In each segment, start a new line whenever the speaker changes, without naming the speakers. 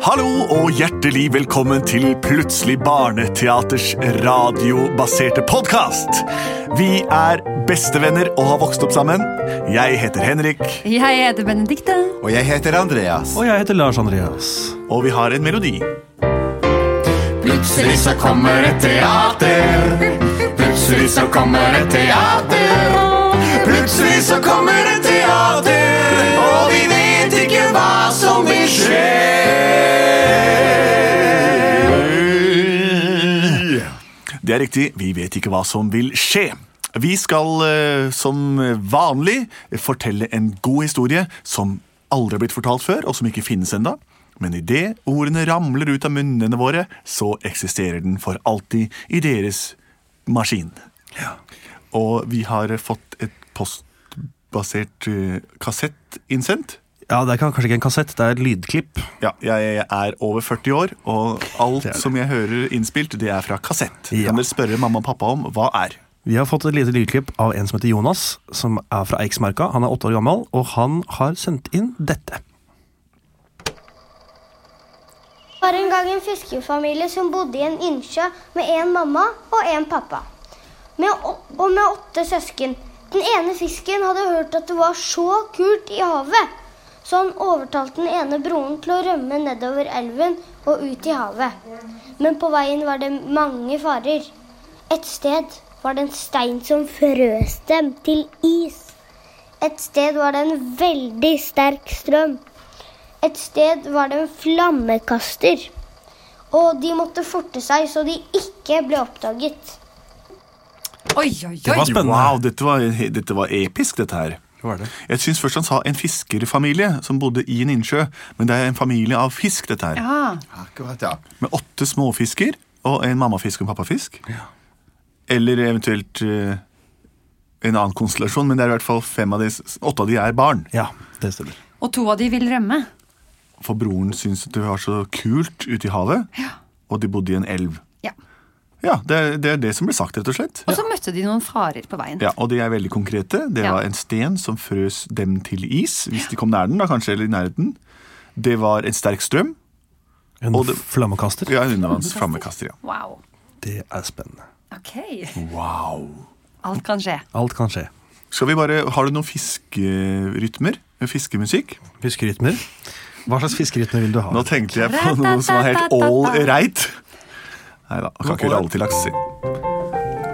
Hallo og hjertelig velkommen til Plutselig barneteaters radiobaserte podkast. Vi er bestevenner og har vokst opp sammen. Jeg heter Henrik,
Jeg heter Benedikte.
Og jeg heter Andreas.
Og jeg heter Lars Andreas.
og vi har en melodi.
Plutselig så kommer et teater. Plutselig så kommer et teater. Plutselig så kommer et teater. Og vi vet ikke hva som vil skje.
Det er riktig, vi vet ikke hva som vil skje. Vi skal eh, som vanlig fortelle en god historie som aldri har blitt fortalt før, og som ikke finnes enda. Men idet ordene ramler ut av munnene våre, så eksisterer den for alltid i deres maskin. Og vi har fått et postbasert eh, kassett innsendt.
Ja, Det er kanskje ikke en kassett, det er et lydklipp.
Ja, jeg er over 40 år, og alt
er det.
som jeg hører innspilt, det er fra kassett.
Ja.
Kan dere spørre mamma og pappa om hva er?
Vi har fått et lite lydklipp av en som heter Jonas, som er fra Eiksmarka. Han er åtte år gammel, og han har sendt inn dette.
Det var en gang en fiskerfamilie som bodde i en innsjø med en mamma og en pappa. Med, å- og med åtte søsken. Den ene fisken hadde hørt at det var så kult i havet, så han overtalte den ene broren til å rømme nedover elven og ut i havet. Men på veien var det mange farer. Et sted var det en stein som frøs dem til is. Et sted var det en veldig sterk strøm. Et sted var det en flammekaster, og de måtte forte seg så de ikke ble oppdaget.
Oi, oi,
Det
oi.
var spennende.
Wow, dette var, dette var episk, dette her.
Hva er det?
Jeg syns først han sa en fiskerfamilie som bodde i en innsjø, men det er en familie av fisk, dette her.
Ja.
Akkurat, ja.
Med åtte småfisker og en mammafisk og en pappafisk. Eller eventuelt eh, en annen konstellasjon, men det er i hvert fall fem av de, åtte av de er barn.
Ja, det stemmer.
Og to av de vil rømme.
For broren syns at det var så kult ute i havet, og de bodde i en elv.
Ja.
Ja, det er, det er det som ble sagt, rett og slett.
Og så møtte de noen farer på veien.
Ja, Og de er veldig konkrete. Det
Ja.
var en sten som frøs dem til is, hvis de kom nær den, da kanskje, eller i nærheten. Det var en sterk strøm.
En
Og det-
flammekaster.
Ja, en undervanns flammekaster, ja.
Wow.
Det er spennende.
Ok.
Wow.
Alt kan skje.
Alt kan skje.
Skal vi bare, Har du noen fiskerytmer? Fiskemusikk?
Fiskerytmer. Hva slags fiskerytme vil du ha?
Nå tenkte jeg på noe som var helt all right. Nei da, kan ikke gjøre alle til laks. si.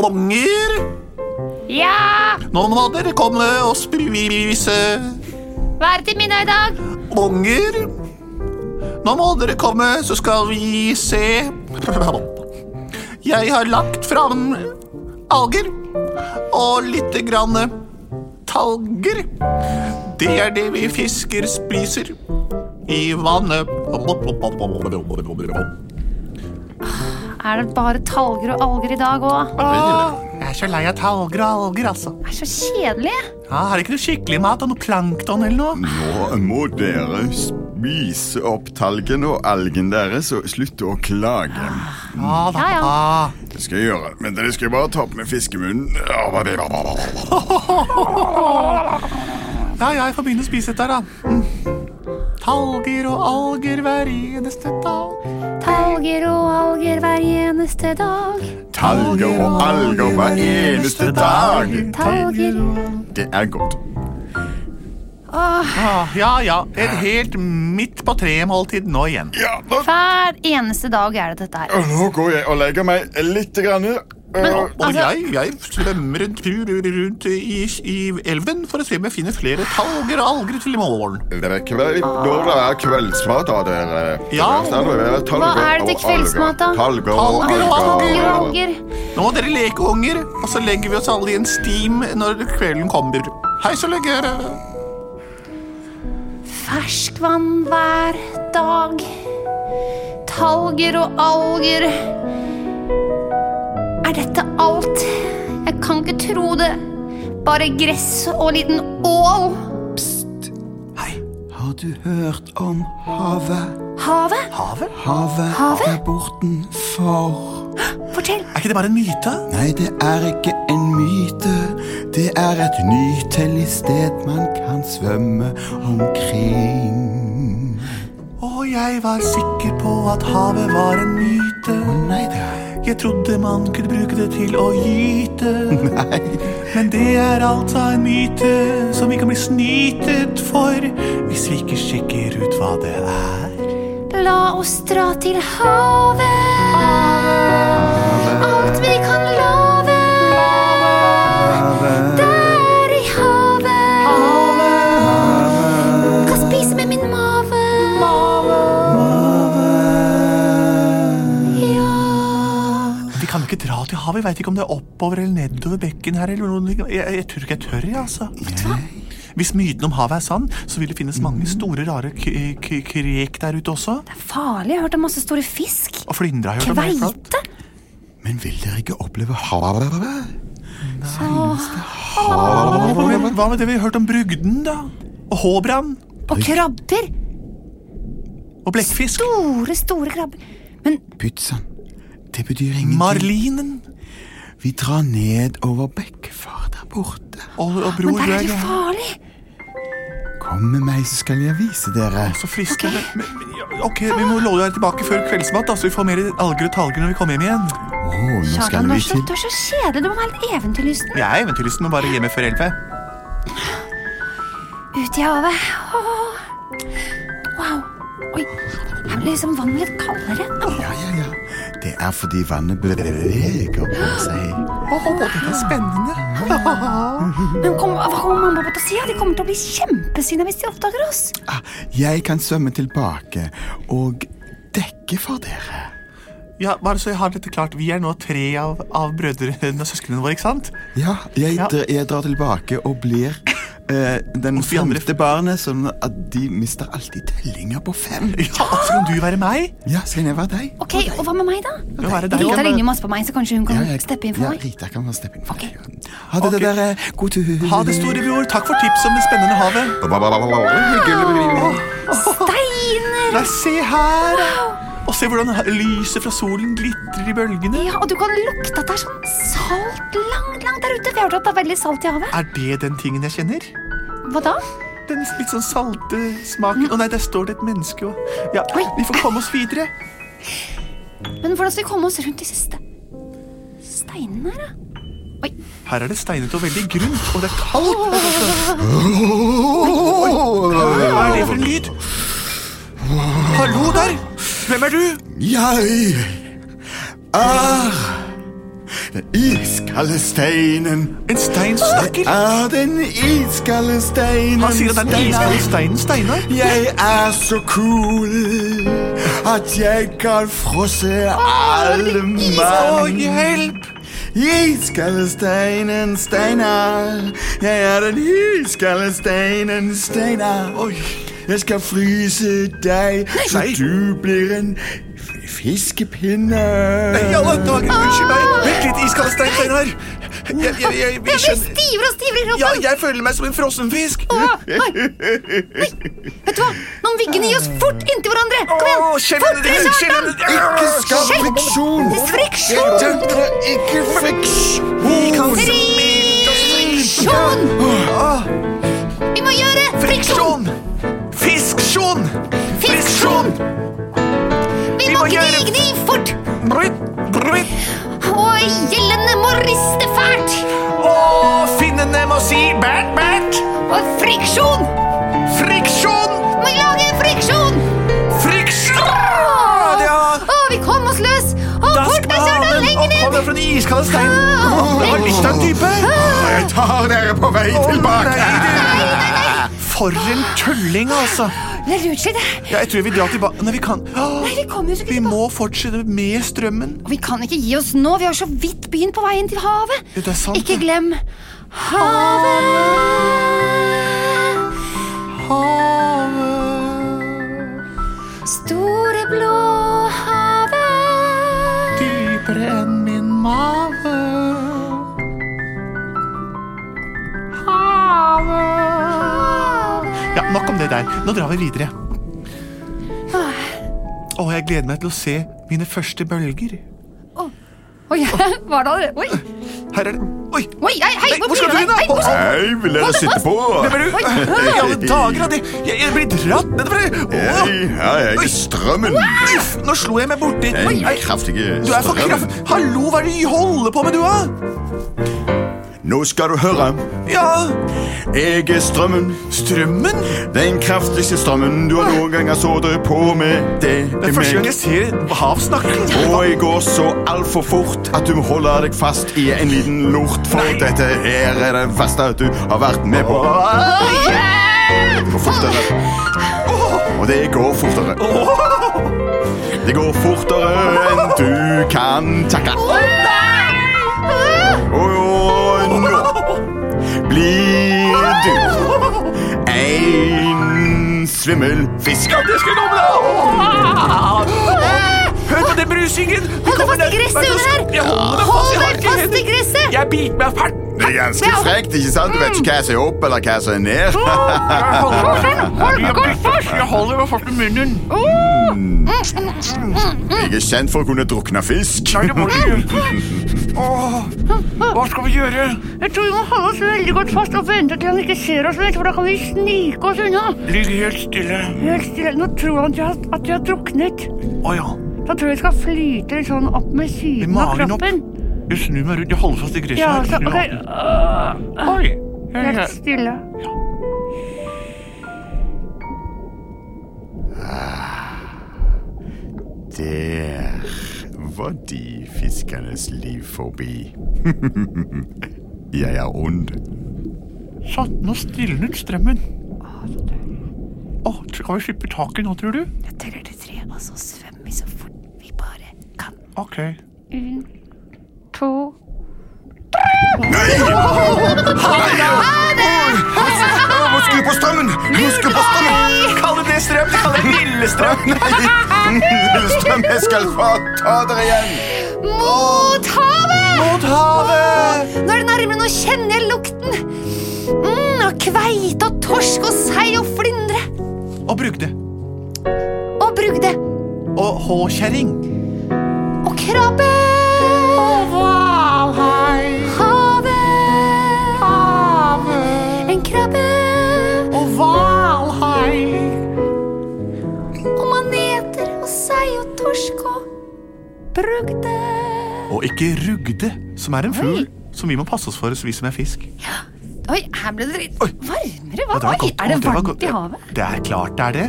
Unger,
Ja!
nå må dere komme og spise.
Hva er det til middag i dag?
Unger, nå må dere komme, så skal vi se. Jeg har lagt fram alger og litt grann talger. Det er det vi fisker spiser i vannet.
Er det bare talger og alger i dag òg?
Ah, Jeg er så lei av talger og alger, altså.
Det er så kjedelig.
Ja, har dere ikke noe skikkelig mat og noe plankton eller
Mm.
noe?
Nå må dere spise opp talgen og algen deres og slutte å klage.
Ah,
Ja, ja.
Det skal jeg gjøre, men dere skal bare ta opp med fiskemunnen.
Ja, jeg får begynne å spise dette her, da. Mm. Talger og alger hver eneste dag.
Talger og alger hver eneste dag.
Talger og alger hver eneste dag.
Talger
Det er godt.
Ah, ja, ja. Et helt midt på treet-måltid nå igjen.
Ja, nå,
Hver eneste dag er det dette her.
nå går jeg og legger meg litt. Grann.
Men,
Og, og
altså-
jeg, jeg svømmer en tur rundt i, i elven for å se om jeg finner flere talger og alger til i morgen.
Dere kveld, når det er kveldsmat, da, dere.
Ja.
Hva
Hva er det til kveldsmat, da?
Talger
Talger
og
og
Alger og
alger.
alger.
Nå må dere leke unger, og så legger vi oss alle i en stim når kvelden kommer. Hei så lenge. dere.
Ferskvann hver dag. Talger og alger. Er dette alt? Jeg kan ikke tro det. Bare gress og en liten ål.
Har du hørt om havet?
Havet?
Havet,
Havet?
er bortenfor.
Fortell.
Er ikke det bare en myte?
Nei, det er ikke en myte. Det er et nytellig sted man kan svømme omkring.
Og jeg var sikker på at havet var en myte.
Nei, det er
Jeg trodde man kunne bruke det til å gyte.
Nei.
Men det er altså en myte som vi kan bli snytet for hvis vi ikke sjekker ut hva det er.
La oss dra til havet. Alt vi kan love. Der i havet. Kan spise med min mave. Ja.
Vi kan jo ikke dra til havet. Jeg veit ikke om det er oppover eller nedover bekken her. eller noe. Jeg, jeg tror ikke jeg tør, jeg, altså. Hvis myten om havet er sann, så vil det finnes mange
Mm.
store, rare k k krek der ute også.
Farlig. Jeg har hørt om masse store fisk.
Og flyndre har jeg hørt om. helt klart.
Kveite.
Men vil dere ikke oppleve havet?
Hva med- Hva med det vi har hørt om brugden, da? Og håbrand?
Og krabber.
Og blekkfisk?
Store, store krabber. Men
Pytsan, det betyr ingenting.
Marlinen?
Vi drar ned over Bekkefar der borte.
Og, og
men
bror
der er
Greg,
det
ja.
farlig.
Kom med meg, så skal jeg vise dere.
Så fristende. Men, men, ja, ok, vi må love deg tilbake før kveldsmat, da, så vi får mer alger og talger når vi kommer hjem igjen.
Å, nå
Kjartan,
skal
du
vi
er så,
til
du er så kjedelig. Du må være litt eventyrlysten.
Jeg er eventyrlysten, men bare hjemme før elleve.
Ut i havet. Åh. Wow. Oi, her blir liksom vannet litt kaldere.
Ja, ja, ja. Det er fordi vannet beveger på seg.
Åh, dette er spennende.
Men kom, hva kommer mamma og pappa til å si? Ja, De kommer til å bli kjempesinna hvis de oppdager oss.
Ah, Jeg kan svømme tilbake og dekke for dere.
Ja, bare så jeg har dette klart. Vi er nå tre av, av brødrene og søsknene våre, ikke sant?
Ja, jeg,
Ja.
dr- jeg drar tilbake og blir eh,
de
den
andre-
femte barnet, sånn at de mister alltid tellinger på fem.
Ja, og så kan du være meg.
Ja, skal jeg være deg?
Ok, Og hva med meg, da?
Du kan være deg.
Rita
Janne.
ligner masse på meg, så kanskje hun kan
Ja, jeg-
steppe inn for
ja,
meg.
Rita kan bare steppe inn for
Ok.
deg. Ha det,
Ok.
dere. God tur.
Ha det, storebror. Takk for tips om det spennende havet.
Steiner!
Nei, se her. Og se hvordan lyset fra solen glitrer i bølgene.
Ja, og du kan lukte at det er sånn salt langt, langt der ute. Vi har hørt at det er veldig salt i havet.
Er det den tingen jeg kjenner?
Hva da?
Den litt sånn salte smaken. Å nei, der står det et menneske òg. Ja, vi får komme oss videre.
Men hvordan skal vi komme oss rundt disse ste steinene her, da?
Her er det steinet og veldig grunt, og det er kaldt. Hva er det for en lyd? Hallo der! Hvem er du?
Jeg er den iskalde steinen.
En stein som snakker.
Er den iskalde steinen.
Han sier at det er den
Steinar.
iskalde steinen Steinar.
Jeg er så cool at jeg kan frosse alle
Å,
mann.
hjelp!
Iskalde steinen, Steinar. Jeg er den iskalde steinen, Steinar.
Oi.
Jeg skal fryse deg så
Nei.
du blir en f- fiskepinne.
eh,
I alle dager, unnskyld meg. Vent litt, iskalde stein, Steinar. Jeg, jeg, jeg, jeg,
Jeg blir
skjønner
stivere og stivere i kroppen.
Ja, jeg føler meg som en frossenfisk.
Åh, nei. nei, vet du hva? Nå må vi gni oss fort inntil hverandre. Kom igjen,
Å, kjellene dine! Kjellene
Ikke
dine!
skap friksjon. Jeg
friksjon!
tenkte ikke friksjon.
Friksjon! Vi må gjøre friksjon!
Friksjon! Fisksjon!
Friksjon! Vi må
må
gni,
gjøre-
gni fort!
Brutt, brutt.
Og gjellene må riste fælt!
Og finnene må si bært, bært.
Og friksjon!
Friksjon!
Må lage friksjon!
Friksjon! Ja,
Å, vi kom oss løs! Og
Da skal
fortere, Stjørdal,
vi ha den
lenger ned!
oppholdet
dere fra den iskalde steinen!
Jeg har lyst til en type!
Jeg tar dere på vei tilbake.
For en tulling, altså!
Jeg er utslitt, jeg.
Ja, jeg tror vi drar tilbake Nei, vi kan
Nei, vi kommer jo så ikke
Vi må fortsette med strømmen.
Vi kan ikke gi oss nå. Vi har så vidt begynt på veien til havet.
Ja, det er sant,
ikke
det.
glem havet. Havet. Store, blå havet.
Dypere enn min mage. Ja, nok om det der. Nå drar vi videre. Å, jeg gleder meg til å se mine første bølger.
Oi, var det allerede Oi,
Her er det Oi!
oi, hei, hei,
Nei, hvor skal du
blir
hen, da?
Hei, hvor skal-
Hei, vil dere sitte på?
Hvem er du? I alle dager, Adi! Jeg, jeg blir dratt nedover! Å,
Jeg, jeg er strømmen.
Uff, nå slo jeg meg borti
Den
Oi,
kraftige
Du er for kraft...
strømmen.
Hallo, hva er det du holder på med, du, da?
Nå skal du høre.
Ja,
Jeg er strømmen.
strømmen?
Den kraftigste strømmen du har noen ganger så det på med. Det
Det er første gang jeg ser havsnakkel.
Og jeg går så altfor fort at du må holde deg fast i en liten lort. For dette her er det verste du har vært med på. Det går fortere. Og det går fortere. Det går fortere enn du kan takle. Og nå blir du en svimmel fisk.
Hør på den brusingen! Det kommer
fast i
ned-
gresset under her!
Jeg holder meg fast, jeg har
Hold
ikke
deg fast i
hender.
gresset!
Jeg biter meg fælt.
Det er ganske frekt, ikke sant? Du vet ikke hva som er opp eller hva som er ned.
Jeg holder meg fast. Jeg holder meg fast i munnen.
Jeg er kjent for å kunne drukne fisk.
Nei, det må du ikke gjøre. Åh, Hva skal vi gjøre?
Jeg tror vi må holde oss veldig godt fast og vente til han ikke ser oss mer, for da kan vi snike oss unna.
Ligg helt stille.
Helt stille. Nå tror han at jeg har- at jeg har druknet.
Å ja.
Da tror jeg jeg skal flyte litt sånn opp med siden av
magen opp.
kroppen.
Jeg snur meg rundt. Jeg holder fast i gresset.
Ja,
her.
så,
Snur meg
ok.
opp.
ah.
Oi. Jeg-
Helt
jeg-
stille.
Der var de fiskernes liv forbi. Jeg er ond.
Sånn, nå stilnet strømmen.
Ah,
Åh, skal vi slippe taket nå, tror du?
Jeg teller til tre, og så svømmer vi så fort vi bare kan.
Ok.
To.
Jeg må skru på strømmen! Jeg må skru på strømmen!
Kaller det strøm? Det kaller jeg lillestrøm.
Nei, Lillestrøm, jeg skal få ta dere igjen!
Mot havet!
Mot havet!
Nå er det nærmere, nå kjenner jeg lukten. Mm, og kveite og torsk og sei og flyndre.
Og Oh, brugde. Oh,
Og brugde.
Og håkjerring.
Og krabbe. Og hvalhai. Havet. Havet. En krabbe. Og hvalhai. Og maneter og sei og torsk og brugde.
Og ikke Oh, rugde, som er en fugl som vi må passe oss for, vi som er fisk.
Oi, her ble det litt varmere. Hva?
Ja, var
Oi,
godt.
er det
Å, var godt.
varmt i havet?
Det er klart det er det.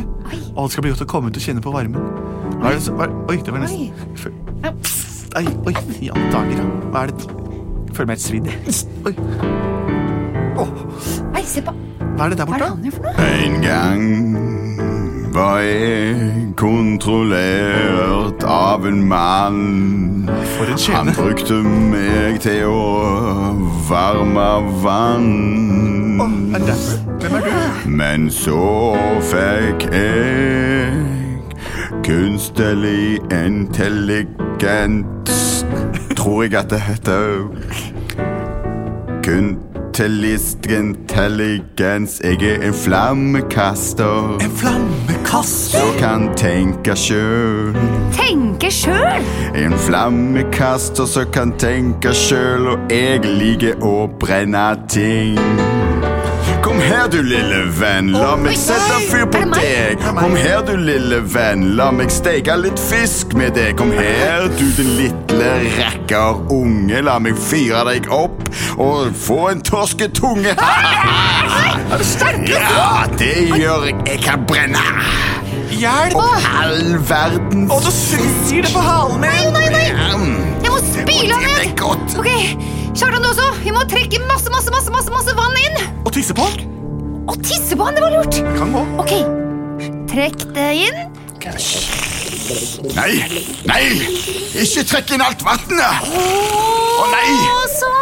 Og det skal bli godt å komme ut og kjenne på varmen. Hva er det som hva er- Oi, det var nesten Fø- Ai, Oi, i alle dager, da. Hva er det Føler meg helt svidd. jeg. Oi. Åh,
Nei, se på.
hva er det der
Hva er det
borte?
han
da?
gjør for noe?
En gang var jeg kontrollert av en mann.
For en
Han
skjebne.
brukte meg til å varme vann.
Er det der? Hvem er du?
Men så fikk jeg kunstig intelligens Tror jeg at det heter Kunstig intelligens Jeg er en flammekaster
En flammekaster.
Og kan tenke sjøl
Tenke sjøl!
En flammekaster som kan tenke sjøl, og jeg liker å brenne ting. Kom her, du lille venn, la meg sette fyr på
Er det meg?
deg. Kom her, du lille venn, la meg steke litt fisk med deg. Kom her, du din lille rakker unge, la meg fyre deg opp og få en torsketunge. Ja,
altså?
det gjør jeg. Jeg kan brenne
Hjelp!
all verdens
Og så svir det på halen min!
Mm.
Jeg må spyle ham ned! også. Vi må trekke masse, masse, masse, masse, masse vann inn.
Og tisse på?
Og tisse på han, det var lurt.
Kan gå.
Ok, trekk det inn.
Nei, nei! Ikke trekk inn alt vannet! Å nei!
Og så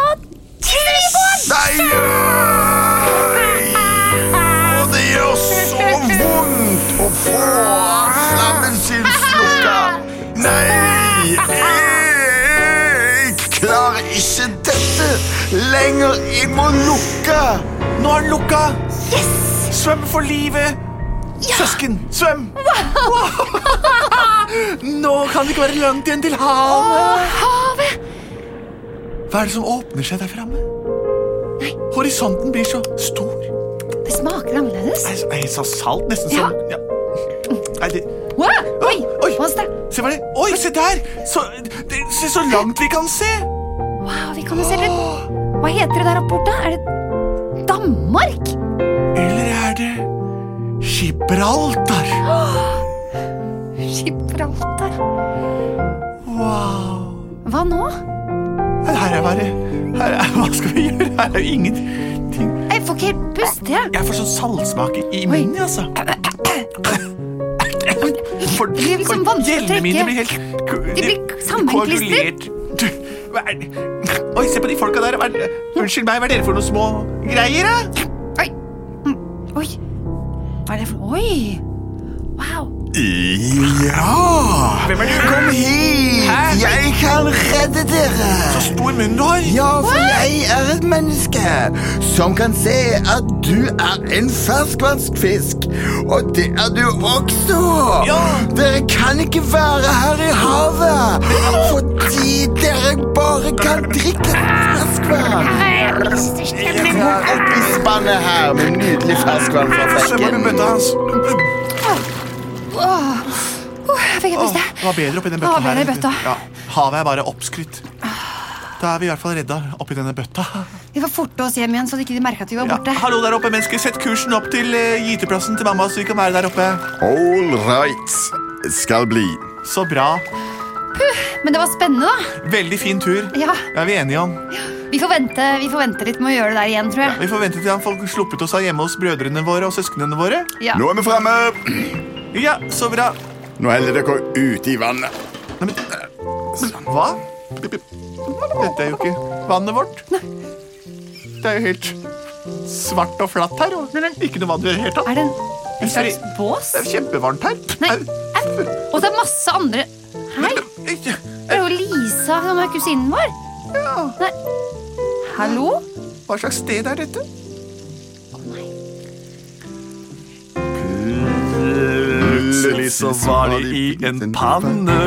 tisser vi på han.
Nei! Å, det gjør så vondt å få flammen sin slukka. Nei! Jeg klarer ikke dette lenger. Jeg må lukke.
Nå er den lukka!
Yes!
Svøm for livet! Søsken, svøm! Nå kan det ikke være langt igjen til havet.
Havet.
Hva er det som åpner seg der framme? Horisonten blir så stor.
Det smaker annerledes.
Nei, nei, så salt. Nesten som ja. Nei, det,
Wow. Oi,
Oi.
pass deg.
se hva det Oi, se der! Så, det, se så langt vi kan se!
Wow, Ah, vi kan jo se litt. Hva heter det der oppe borte? Er det Danmark?
Eller er det Gibraltar?
Gibraltar.
Wow.
Hva nå?
Men Her er bare her er, Hva skal vi gjøre? Her er jo ingenting.
Jeg får ikke helt puste, jeg.
Jeg får sånn saltsmak i- i munnen, altså. For,
Det blir liksom
for
vanskelig å
gjellene mine
trekke.
blir helt ko-
De blir
de-
sammenklister.
koagulert. Du, hva er det? Oi, se på de folka der. Hva er det? Unnskyld meg, hva er dere for noen små greier, da?
Oi. Mm, Oi. Hva er det for Oi. Wow.
Ja!
Hvem er du?
Kom hit!
Hæ?
Jeg kan redde
Så
dere!
stor munn du har.
Ja, for jeg er et menneske som kan se at du er en ferskvannsfisk. Og det er du også.
Ja.
Dere kan ikke være her i havet fordi dere bare kan drikke ferskvann. Jeg tar opp i spannet her med nydelig ferskvann fra
Svømmer med
bekken.
bøtta hans.
Uh, jeg fikk helt
Åh,
puste.
det var bedre oppi den
Ja,
bøtta her.
bedre i bøtta.
Ja, havet er bare oppskrytt. Da er vi i hvert fall redda oppi denne bøtta.
Vi får forte oss hjem igjen, så de ikke merka at vi var
Ja,
borte.
hallo der oppe, mennesker. Sett kursen opp til eh, gyteplassen til mamma, så vi kan være der oppe.
All right. Skal bli.
Så bra.
Men det var spennende, da.
Veldig fin tur.
Ja.
Ja, vi er enige om.
Vi får vente, vi får vente litt med å gjøre det der igjen, tror jeg.
Vi får vente til han får sluppet oss av hjemme hos brødrene våre og søsknene våre.
Ja.
Nå er vi framme.
Ja, så bra.
Nå heller dere ut i vannet.
Nei, men
Sånn.
eh, Hva? Dette er jo ikke vannet vårt. Det er jo helt svart og flatt her. Og
Nei, men-
ikke noe vann i det hele tatt.
Er det en, en slags bås?
Det er kjempevarmt her.
Nei.
Au.
au. Og det er masse andre Hei! Det er jo Lisa, som er kusinen vår.
Ja,
Nei. Hallo?
hva slags sted er dette?
Plutselig så var de i en panne.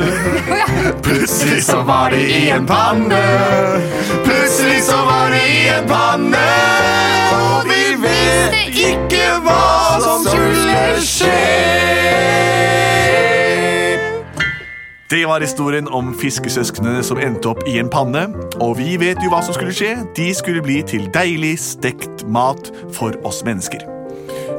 Plutselig så var de i en panne. Plutselig så var de i en panne. Og de vet ikke hva som skulle skje.
Det var historien om fiskesøsknene som endte opp i en panne. Og vi vet jo hva som skulle skje. De skulle bli til deilig stekt mat for oss mennesker.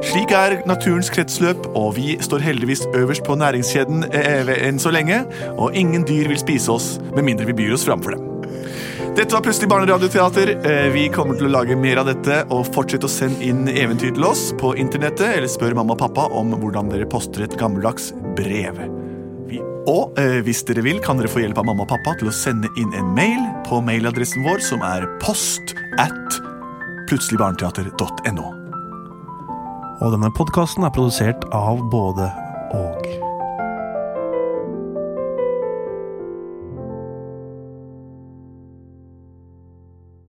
Slik er naturens kretsløp, og vi står heldigvis øverst på næringskjeden eh, enn så lenge. Og ingen dyr vil spise oss med mindre vi byr oss framfor dem. Dette var Plutselig barneradioteater. Eh, Vi kommer til å lage mer av dette. Og fortsett å sende inn eventyr til oss på internettet, eller spør mamma og pappa om hvordan dere poster et gammeldags brev. Vi, og eh, hvis dere vil, kan dere få hjelp av mamma og pappa til å sende inn en mail på mailadressen vår, som er post at plutseligbarneteater.no.
Og denne podkasten er produsert av både og.